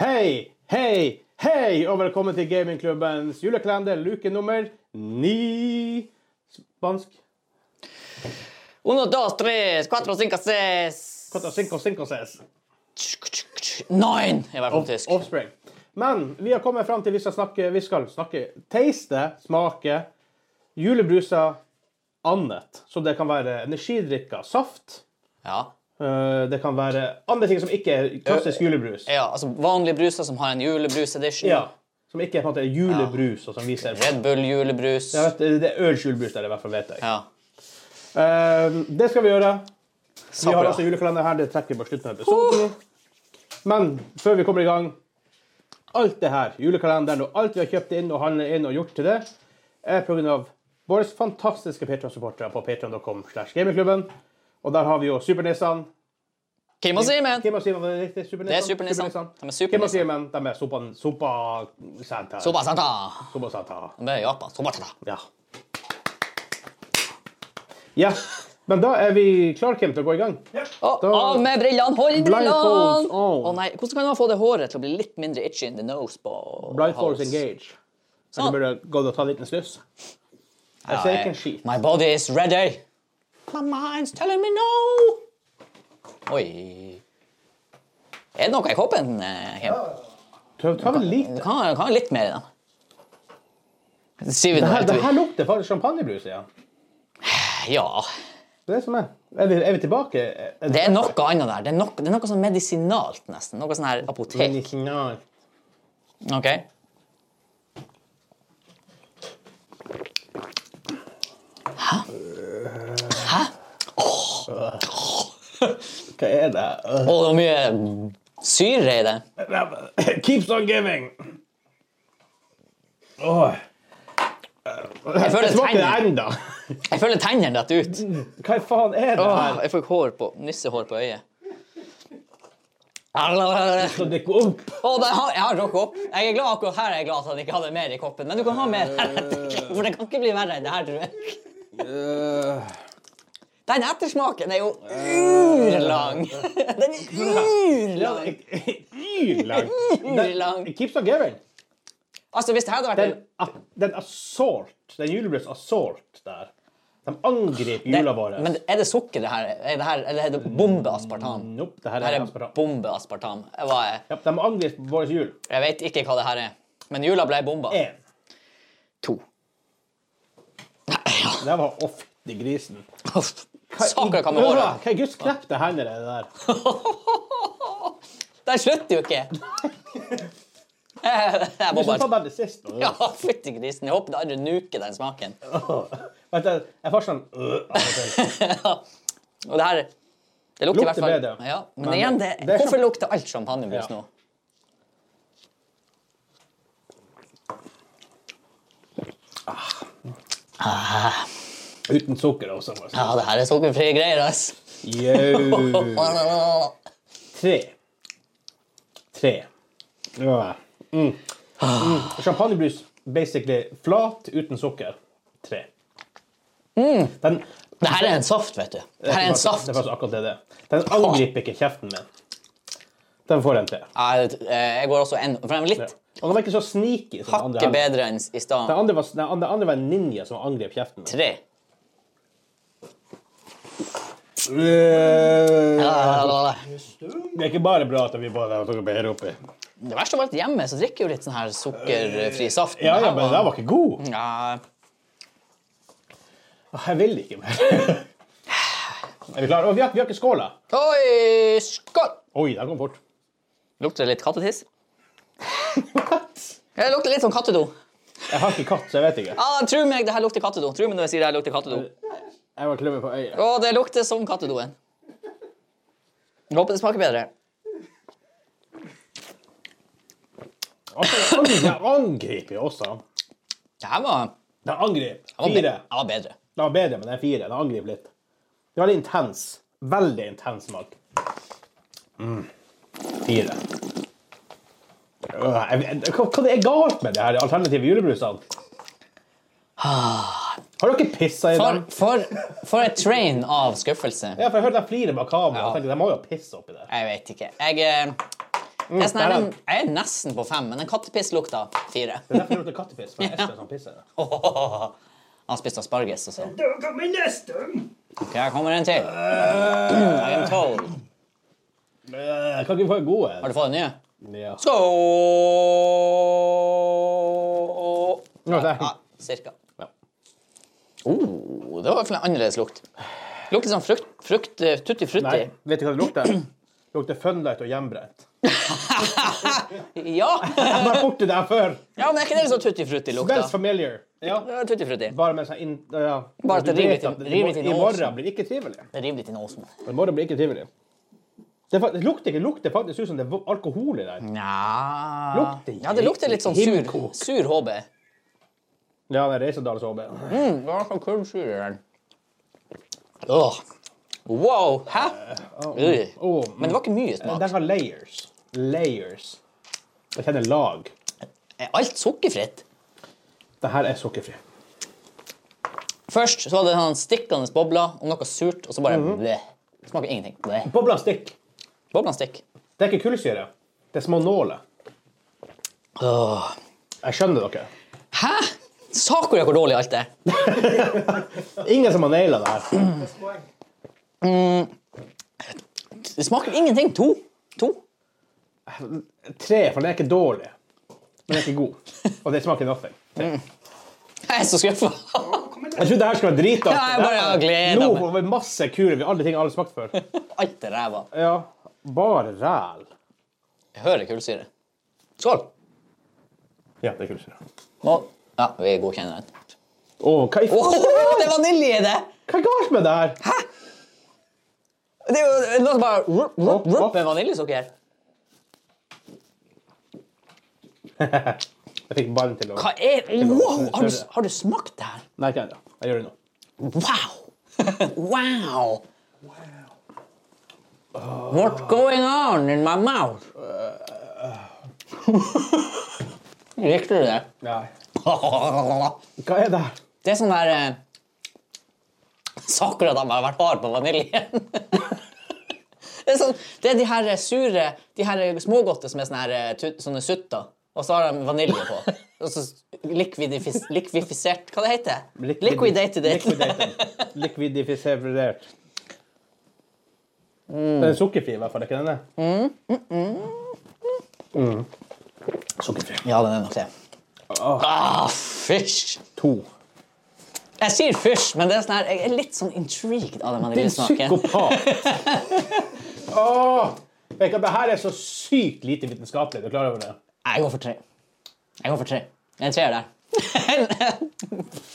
Hei, hei, hei, og velkommen til gamingklubbens julekalender, luke nummer ni. Spansk. Uno, dos, tres, cuatro, cinco, seis Kata Cinco Cinco ses. Nine, i hvert fall Off, tysk. offspring. Men vi har kommet fram til vi skal snakke, vi skal snakke taste, smake, julebruser, annet. Så det kan være energidrikker, saft. Ja. øh, Det kan være andre ting som ikke er klassisk julebrus. ja, altså Vanlige bruser som har en julebrus-edition. Ja, som ikke er på en måte julebrus, og som vi ser på. Red Bull-julebrus. Jeg vet, Det er ølsjulebrus der, i hvert fall, vet jeg. Ja. Eh, det skal vi gjøre. Vi har bra. altså julekalender her. Det trekker vi på slutten av episoden. Men før vi kommer i gang Alt det her, julekalenderen og alt vi har kjøpt inn og handlet inn og gjort til det, er pga. våre fantastiske Patreon-supportere på patreon.com slash gamingklubben. Og der har vi jo supernissene. Kim og Simen! Kim og Simen, var det riktig? Det Supernissene? er supernissene. De er Kim og supernissene. Simen, de er sopa... Sopa... Santa. Soba santa! Sopa Santa. Det er Japan. Soba santa. Ja. Ja. Men da er vi klar, Kim, til å gå i gang. Og Da- av med brillene! Hold brillene! Blindfolds Å on. nei, Hvordan kan man få det håret til å bli litt mindre itchy in the nose? på Blindfolds house? engage. Så Sånn. du burde gå og ta en liten snus. Jeg ser ikke en skit. My body is ready. My mind's telling me no. Oi. Er det noe i koppen, eh, Kim? Ta, ta vel litt. Du kan, du kan ha litt mer i den. Det sier vi nå Her, helt det ut. her lukter faktisk champagnebrus igjen. Ja. Det er det som er. Er vi, er vi tilbake? Er Det er noe annet der. Det er noe, det er noe sånn medisinalt, nesten. Noe sånn her apotek. Medicinal. Ok. Hva er det? Øh. Og det er mye syre i det. Keeps on giving. Åh. Jeg føler Jeg smaker det tennene- enda. Jeg føler tennene detter ut. Hva faen er det Åh, her? jeg fikk hår på, nissehår på øyet. Ah, Å, Så det går opp. det har, jeg har drukket opp. Jeg er glad akkurat her er jeg glad at han ikke hadde mer i koppen. Men du kan ha mer her Mm. etter. For det kan ikke bli verre enn det her, tror jeg. Øh. Den ettersmaken er jo urlang. Mm. Den er urlang. Yrlang. Yrlang. Keeps on giving. Altså, hvis det hadde vært Den, a- den assault, den julebrus assault der, de angriper jula vår. Men er det sukker, det her? Er det her eller er det bombeaspartam? Nope, det her Det her er er Mm. aspartam. bombeaspartam. Jeg var- Ja, de angriper vår jul. Jeg vet ikke hva det her er. Men jula ble bomba. En. To. Det her var off til grisen. Uff. Saker kan man Hva i- håre. Hva i guds knepte hender er det der? Den slutter jo ikke. Eh, Jeg må Du bare tar bare det sist. nå. ja, Fytti grisen. Jeg håper det aldri nuker den smaken. Vet du, jeg får sånn øh, av og til. Og det her Det lukter i hvert Lukter fall bedre. Ja, men, Men igjen, det, det er hvorfor sjamp- lukter alt champagnebrus Ja. nå? Uten sukker også. må jeg si. Ja, det her er sukkerfrie greier, ass. Jau. Tre. Tre. Ja. Mm. Mm. Champagnebrus basically flat uten sukker. Tre. Den, Mm. Det her er en saft, vet du. Det her er en saft. Det er faktisk akkurat det det er. Den angriper ikke kjeften min. Den får en tre. Ja, det- eh, Jeg går også en For den er Ja. litt Og den var ikke så sneaky som den andre. hakket her. bedre enn i stad. Den andre, var, den andre- den andre var en ninja som angrep kjeften min. Tre. Det Det er ikke bare bra at vi bare tok og ble her oppe. verste var at hjemme så drikker jeg jo litt sånn her sukkerfri saft. Eh, Ja, ja, det her men den var ikke god. Ja, Jeg vil ikke mer. Er vi klare? Og vi har, vi har ikke skåla. Oi, skål! Oi, den kom fort. Lukter det litt kattetiss? Ja, Det lukter litt som kattedo. Jeg har ikke katt, så jeg vet ikke. Ah, tro meg, det her lukter kattedo. Tro meg når jeg sier det her lukter kattedo. Jeg var kløver på øyet. Å, det lukter som kattedoen. Jeg Håper det smaker bedre. Altså, den angriper jo også. Det her var, Den angriper. det var, be- Fire. det var bedre. Den var bedre, men den er fire. Den angriper litt. Det var litt intens. Veldig intens smak. Mm. Fire. Øh, jeg vet- Hva, hva det er galt med de her alternative julebrusene? Har dere pissa i For, dem? for, for et train av skuffelse. Ja, for jeg hørte de flirer bak kameraet. Ja. Jeg tenkte, De må jo pisse oppi der. Jeg vet ikke. Jeg, eh, Det er sånn der her, er den, jeg er nesten på fem, men den kattepisslukta fire. Det er derfor jeg lukter kattepiss. For jeg elsker sånn pisse. Han spiste asparges og sånn. Da kommer neste. Ok, her kommer en til. I am told. Øh, Kan ikke vi få en god en? Har du fått en ny? Ja. Skål! Nå, der. Ja, cirka. Ja. Oh, det var i hvert fall en annerledes lukt. Lukter sånn frukt, frukt eh, tutti Nei, frutti. vet du hva det lukter? Det lukter funlight og hjemmebrent. Ja. Jeg har vært borti det her før. ja, men er ikke det sånn tutti frutti lukta? Smells familiar. Ja. Ja, Tutti frutti. Bare med sånn inn... Ja. Bare at det Du river vet til- at det- river til I nåsen. morgen blir det ikke trivelig. Det river litt i nåsen. I morgen blir det ikke trivelig. Det, er fa- det lukter ikke lukter faktisk ut som det er alkohol i der. Nja Lukter Ja, det lukter litt sånn sur, himmelkok. sur HB. Ja, det er Reisadals HB. Mm, det var sånn kullsyre i den. Åh. Wow! Hæ? Ui. Åh, mm. Men Eh, det var ikke mye Den smak. har layers. Layers. Jeg kjenner lag. Er alt sukkerfritt? Det her er sukkerfri. Først så hadde han stikkende bobler og noe surt, og så bare bleh. Det smaker ingenting. Bleh. Bobla stikk. Boblene stikker. Det er ikke kullsyre. Det er små nåler. Åh. Jeg skjønner dere. Hæ? Saker hvor dårlig alt er. Ingen som har naila det her. Poeng. Det smaker ingenting. To. To. Tre, for den er ikke dårlig. Men den er ikke god. Og det smaker nothing. Jeg er så skuffa. Jeg trodde det her skulle være dritartig. Ja, jeg bare har gledet Nå meg. får vi masse kurer. Vi har aldri ting alle smakt før. Alt er ræva. Ja, bare ræl. Jeg hører kullsyre. Skål. Ja, det er kullsyre. Nå. Ja, vi godkjenner den. Åh, hva, i f- Åh, det var vanilje i det! hva er galt med det her? Det er jo noe som bare rup, rup, Opp, rup opp. med vaniljesukker. Jeg fikk ballen til å Hva er Wow! Har du, har du smakt det her? Nei, ikke ennå. Jeg gjør det nå. Wow! wow! What's going on in my mouth? Likte du det? Nei. Hva er det her? Det er sånn der eh, Saker at han har vært hard på vaniljen. det, er sånn, det er de her sure De her smågodte som er sånne, her, eh, tut- sånne sutter, og så har de vanilje på. Og så likvidifis, likvifisert Hva det heter det? Liquidated it. Liquidated. Likvidifisert. Mm. Den er sukkerfri, i hvert fall. Er ikke den det? Mm. Mm. Sukkerfri. Ja, den er nok det. Ah, fysj! To. Jeg sier fysj, men det er sånn her, jeg er litt sånn intrigued av den Din vaniljesmaken. psykopat! Åh! Vet du hva, Det her er så sykt lite vitenskapelig. Er du klar over det? Jeg går for tre. Jeg går for tre. En treer der.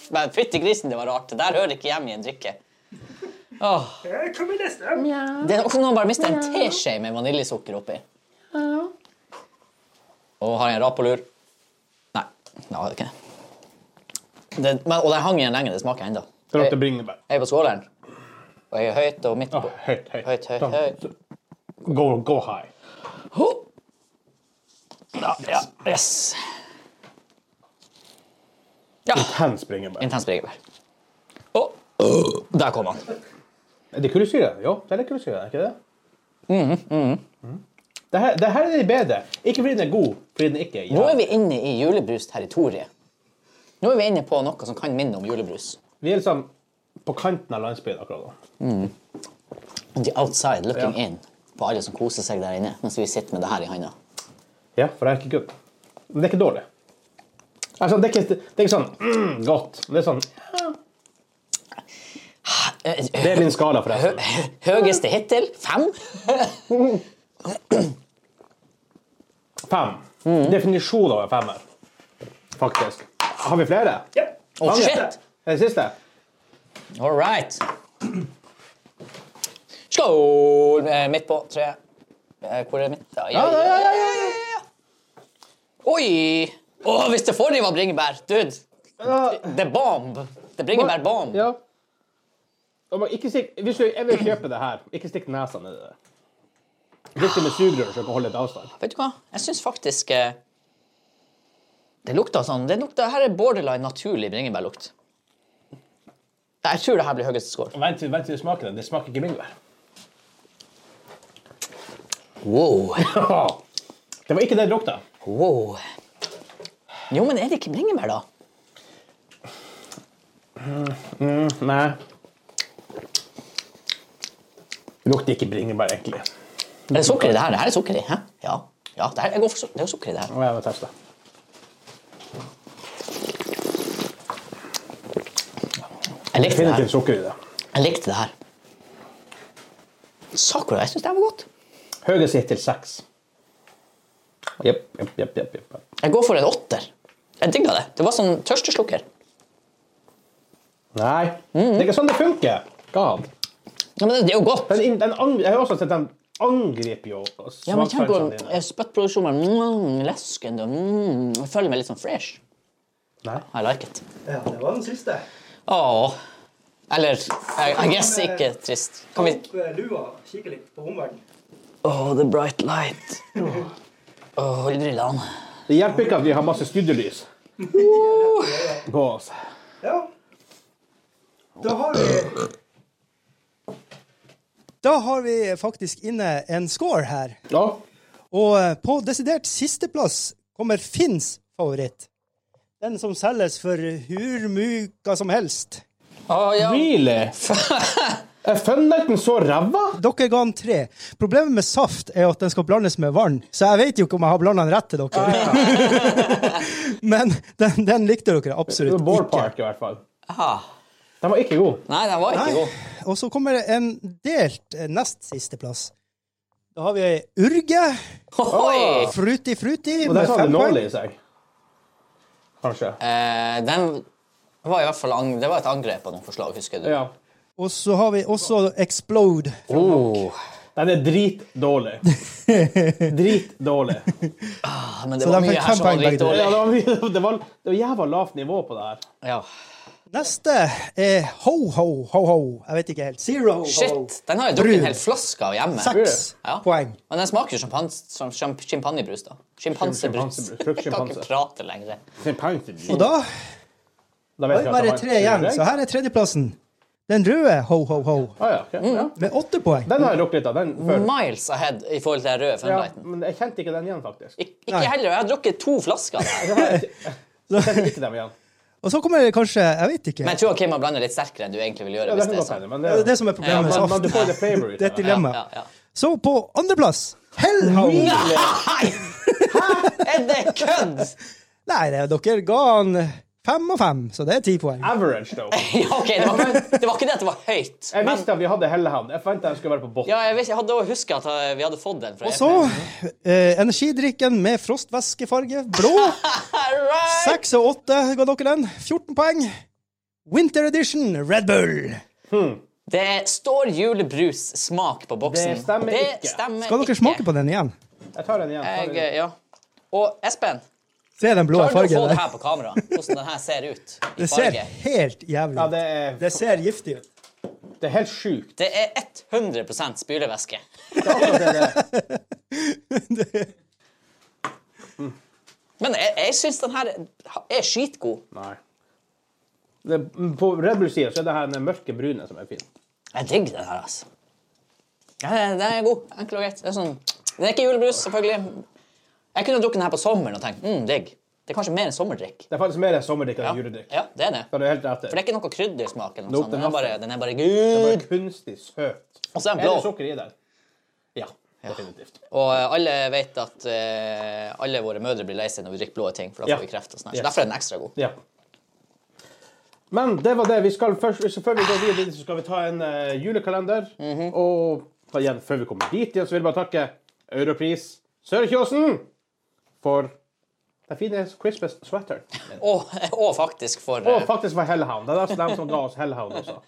men fytti grisen, det var rart. Det der hører ikke hjemme i en drikke. Åh. Da kommer neste. Det er også noen bare mister en teskje med vaniljesukker oppi. Og har jeg en rap på lur? Nei, det var det ikke. Det, men, og den hang igjen lenge, det Ah. smaker ennå. Det Jeg lukter bringebær. jeg er på skåleren, og jeg er høyt og midt Åh, på. høyt, høyt. Høyt, høyt, Sånn. høyt. Go, go high. Ho! Ja, ja, yes. Ja, Hands bringebær. intens bringebær. Å, der kom han. Er det kullsyre? Jo, det er litt kullsyre, er ikke det? Mm-hmm, Mhm. Det, her, det her er litt bedre. Ikke fordi den er god, fordi den ikke er Nå er jævlig. vi inne i julebrusterritoriet. Nå er vi inne på noe som kan minne om julebrus. Vi er liksom på kanten av landsbyen akkurat nå. The outside looking Ja. in på alle som koser seg der inne, mens vi sitter med det her i handa. Ja, for det er ikke godt. Men det er ikke dårlig. Altså, det, er ikke, det er ikke sånn mm, godt. Men det er sånn Eh, Det er altså. min skala, forresten. Høyeste hittil fem. Fem. Mm-hmm. Definisjon av en femmer, faktisk. Har vi flere? Ja. Å, Mange. Oh, shit! Er det siste? All right. Skål! Eh, Midt på tre. Eh, Hvor er midt? Ja, ja, ja, ja, ja, ja, ja. Oi! Å, hvis det forrige var bringebær, dude! Ja. The bomb! The bringebær bomb. ja. Og man- Ikke stikk, hvis du, jeg vil kjøpe det her. Ikke stikk nesa ned i det. Drikk det med sugerør så du kan holde litt avstand. Vet du hva? Jeg syns faktisk eh, Det lukta sånn. Det lukta, her er borderline naturlig bringebærlukt. Nei, Jeg tror det her blir høyeste score. Vent til, vent til du smaker den. Det smaker ikke bringebær. Wow. Det var ikke det det lukta. Wow. Jo, men er det ikke bringebær, da? Nei. Det lukter ikke bringebær, egentlig. Er det sukker i det her? Det her er sukker i, hæ? Ja. ja det, her, jeg går for, su- det er jo sukker i det her. Nå er jeg testa. Jeg likte det her. Definitivt sukker i det. Jeg likte det her. Sakura, jeg syns det her var godt. Høyest hit til seks. Jepp, jepp, jepp. jepp, jepp. Jeg går for en åtter. Jeg digga det. Det var sånn tørsteslukker. Nei, Mm. det er ikke sånn det funker. God. Ja, men det er jo godt. Den, den ang- jeg har også sett den angriper jo Ja, men kjenn på smaksansene dine. eh, spyttproduksjonen. Mm, lesken. det, Mm, jeg føler meg litt sånn fresh. Nei. I like it. Ja, det var den siste. Åh. Eller I, I guess ikke trist. Kan vi Opp eh, lua, kikke litt på omverdenen. Oh, the bright light. Åh, ildrillene. Det hjelper ikke at vi har masse studielys på oss. Ja. Da har vi Da har vi faktisk inne en score her. Ja. Og eh, på desidert sisteplass kommer Finns favoritt. Den som selges for hurmuka som helst. Åh, ja. Really? Er fønnelten så ræva? Dere ga den tre. Problemet med saft er at den skal blandes med vann, så jeg vet jo ikke om jeg har blanda den rett til dere. Men den, den likte dere absolutt ikke. Ballpark, i hvert fall. Ah. Den var ikke god. Nei, den var ikke Nei. god. Og så kommer det en delt eh, nest siste plass. Da har vi Urge, Oi! Fruti Fruti Og der med sa det fem nåle poeng. i seg. Kanskje. Eh, den var i hvert fall ang det var et angrep på noen forslag, husker du? Ja. Og så har vi også Explode. Oh. Den er dritdårlig. Dritdårlig. Ah, men det Så var den fikk mye fem her som var poeng, begge to. Ja, dritdårlig. det, var mye, det, var, det var jævla lavt nivå på det her. Ja. Neste er Ho Ho Ho Ho. Jeg vet ikke helt. Zero. Shit! Den har jeg drukket Brun. en hel flaske av hjemme. Seks Ja. poeng. Men den smaker jo sjampans- som sjamp- sjimpanjebrus, da. Sjimpansebrus. Sjimpansebrus. Jeg kan Sjimpanse. ikke prate lenger. Og da Da har vet vi jeg at det bare var- tre igjen, så her er tredjeplassen. Den røde Ho Ho Ho Ah, ja, ok, ja. med åtte poeng. Den har jeg lukket litt av. Den før. Miles ahead i forhold til den Ja, røde Funlighten. men jeg kjente ikke den igjen, faktisk. Ik ikke heller. Jeg har drukket to flasker. av den. Jeg kjente ikke dem igjen. Og så kommer det kanskje Jeg vet ikke. Men jeg tror Kim har blandet litt sterkere enn du egentlig vil gjøre. Ja, det hvis kan det er godt sånn. hende, men Det er det det som er Ja, problemet med men, men du saft. får det flavor ut Det er et av det. Ja, dilemma. ja, ja. Så på andreplass Hellhow. Nei! Hæ? Er det kødd? Nei, det er dere ga han fem av fem, så det er ti poeng. Average, though. Ja, ok, det var, det var ikke det at det var høyt. Jeg Men visste at vi hadde Hellehavn. Jeg forventa den skulle være på båt. ja, jeg, visste, jeg hadde også husket at eh, vi hadde fått den. fra Så eh, energidrikken med frostvæskefarge, blå. Alright! Seks og åtte ga dere den. 14 poeng. Winter edition Red Bull. Det står julebrussmak på boksen. Det stemmer ikke. Det stemmer Skal dere ikke. smake på den igjen? Jeg tar den igjen. tar den Jeg, igjen. eh, ja. Og Espen, Se den blå klarer du å fargen få det der. her på kamera? Hvordan den her ser ut i Det ser farge? helt jævlig Ja, ut. det er, Det ser giftig ut. det er helt sjukt. Det er 100 spylevæske. Det er akkurat det det er. Men jeg, jeg syns den her er skitgod. Nei. Det, mm, på Red Bull-sida så er det her den mørke brune som er fin. Jeg digger den her, altså. Ja, den er god. Enkel og greit. Det er sånn, den er ikke julebrus, selvfølgelig. Jeg kunne drukket den her på sommeren og tenkt mm, digg. Det er kanskje mer en sommerdrikk. Det er faktisk mer en sommerdrikk enn en juledrikk. Ja, det er det. Da er du helt rett. For det er ikke noe krydder i smaken. Nope, Nope, den, den er har- bare, den er bare Det gud. er kunstig søt. Og så er den Er det blå. sukker i den? Ja, definitivt. Og eh, alle vet at eh, alle våre mødre blir lei seg når vi drikker blå ting, for da Ja. får vi kreft og sånn. her. Yes. Så derfor er den ekstra god. Ja. Men det var det. Vi skal først, så før vi går videre, så skal vi ta en eh, julekalender. Og ta igjen før vi kommer dit igjen, så vil jeg bare takke Europris Sørkjosen for den fine Christmas sweater. Og, og faktisk for Og eh, faktisk var Hellhound. Det er altså dem som ga oss Hellhound også.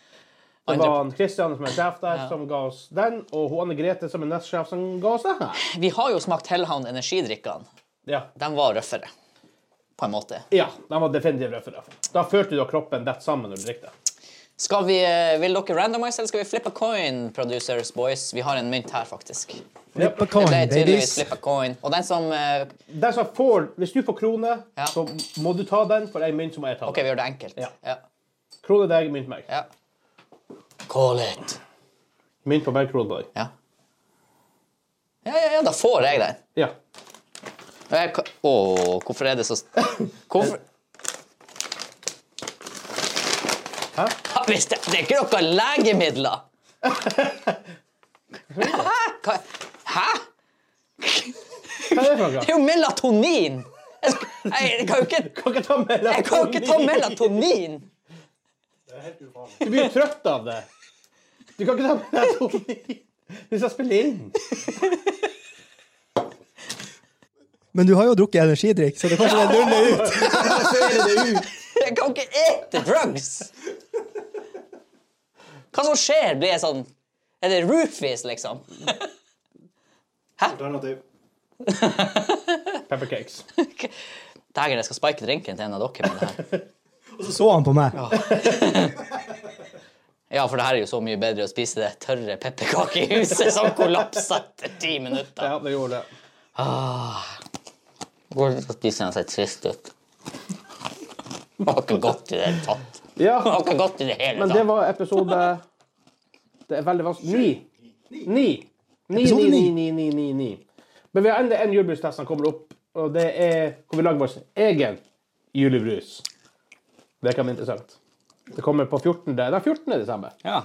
Det var han Christian som er sjef der, som ga oss den, og hun Anne Grete som er nestsjef, som ga oss den her. Vi har jo smakt Hellhound energidrikkene. Ja. De var røffere, på en måte. ja den var definitivt røff. Da følte du at kroppen detter sammen når du drikker den. Skal vi, eh, vil dere randomise, eller skal vi flippe coin, producers boys? Vi har en mynt her, faktisk. Flip a Det coin, ble tydeligvis babies. flippa coin. Og den som eh, Den som får, hvis du får krone, Ja. så må du ta den, for jeg mynt så må jeg ta OK, vi gjør det enkelt. Ja. Ja. den. Krone deg, mynt meg. ja. Call it. Mynt på meg, krone på deg. Ja. Ja, ja, ja, da får jeg den. Ja. Jeg ka- Å, hvorfor er det så s- Hvorfor Hæ? Ja, hvis det, det er ikke noen legemidler! Hæ? Hva- Hæ? Hva er det for Det noe? er jo melatonin! Jeg, sk- jeg, jeg kan jo ikke Kan ikke ta melatonin. jeg kan jo ikke ta melatonin! Du blir jo trøtt av det. Du kan ikke ta melatonin. Du skal spille inn. Men du har jo drukket energidrikk, så det er kanskje det nuller ut. Jeg kan ikke ete drugs! Hva som skjer? Blir jeg sånn Er det roofies, liksom? Alternativ. Peppercakes. Dægen, jeg skal spike drinken til en av dere med det her. Og så så han på meg. Ja, for det her er jo så mye bedre å spise det tørre pepperkakehuset som kollapsa etter ti minutter. Ja, det gjorde det. Ah. Hvordan spiser han seg trist ut? Det var ikke godt i det hele tatt. Ja, Det var ikke godt i det hele men det tatt. var episode Det er veldig vanskelig Ni. Ni. Ni, ni, Episode ni, ni. ni, ni, ni, ni. Men vi har enda en julebrustest som kommer opp, og det er hvor vi lager vår egen julebrus. Det kan bli interessant. Det kommer på 14. Den 14. desember. Ja.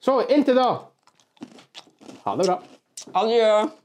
Så inntil da Ha det bra. Adjø.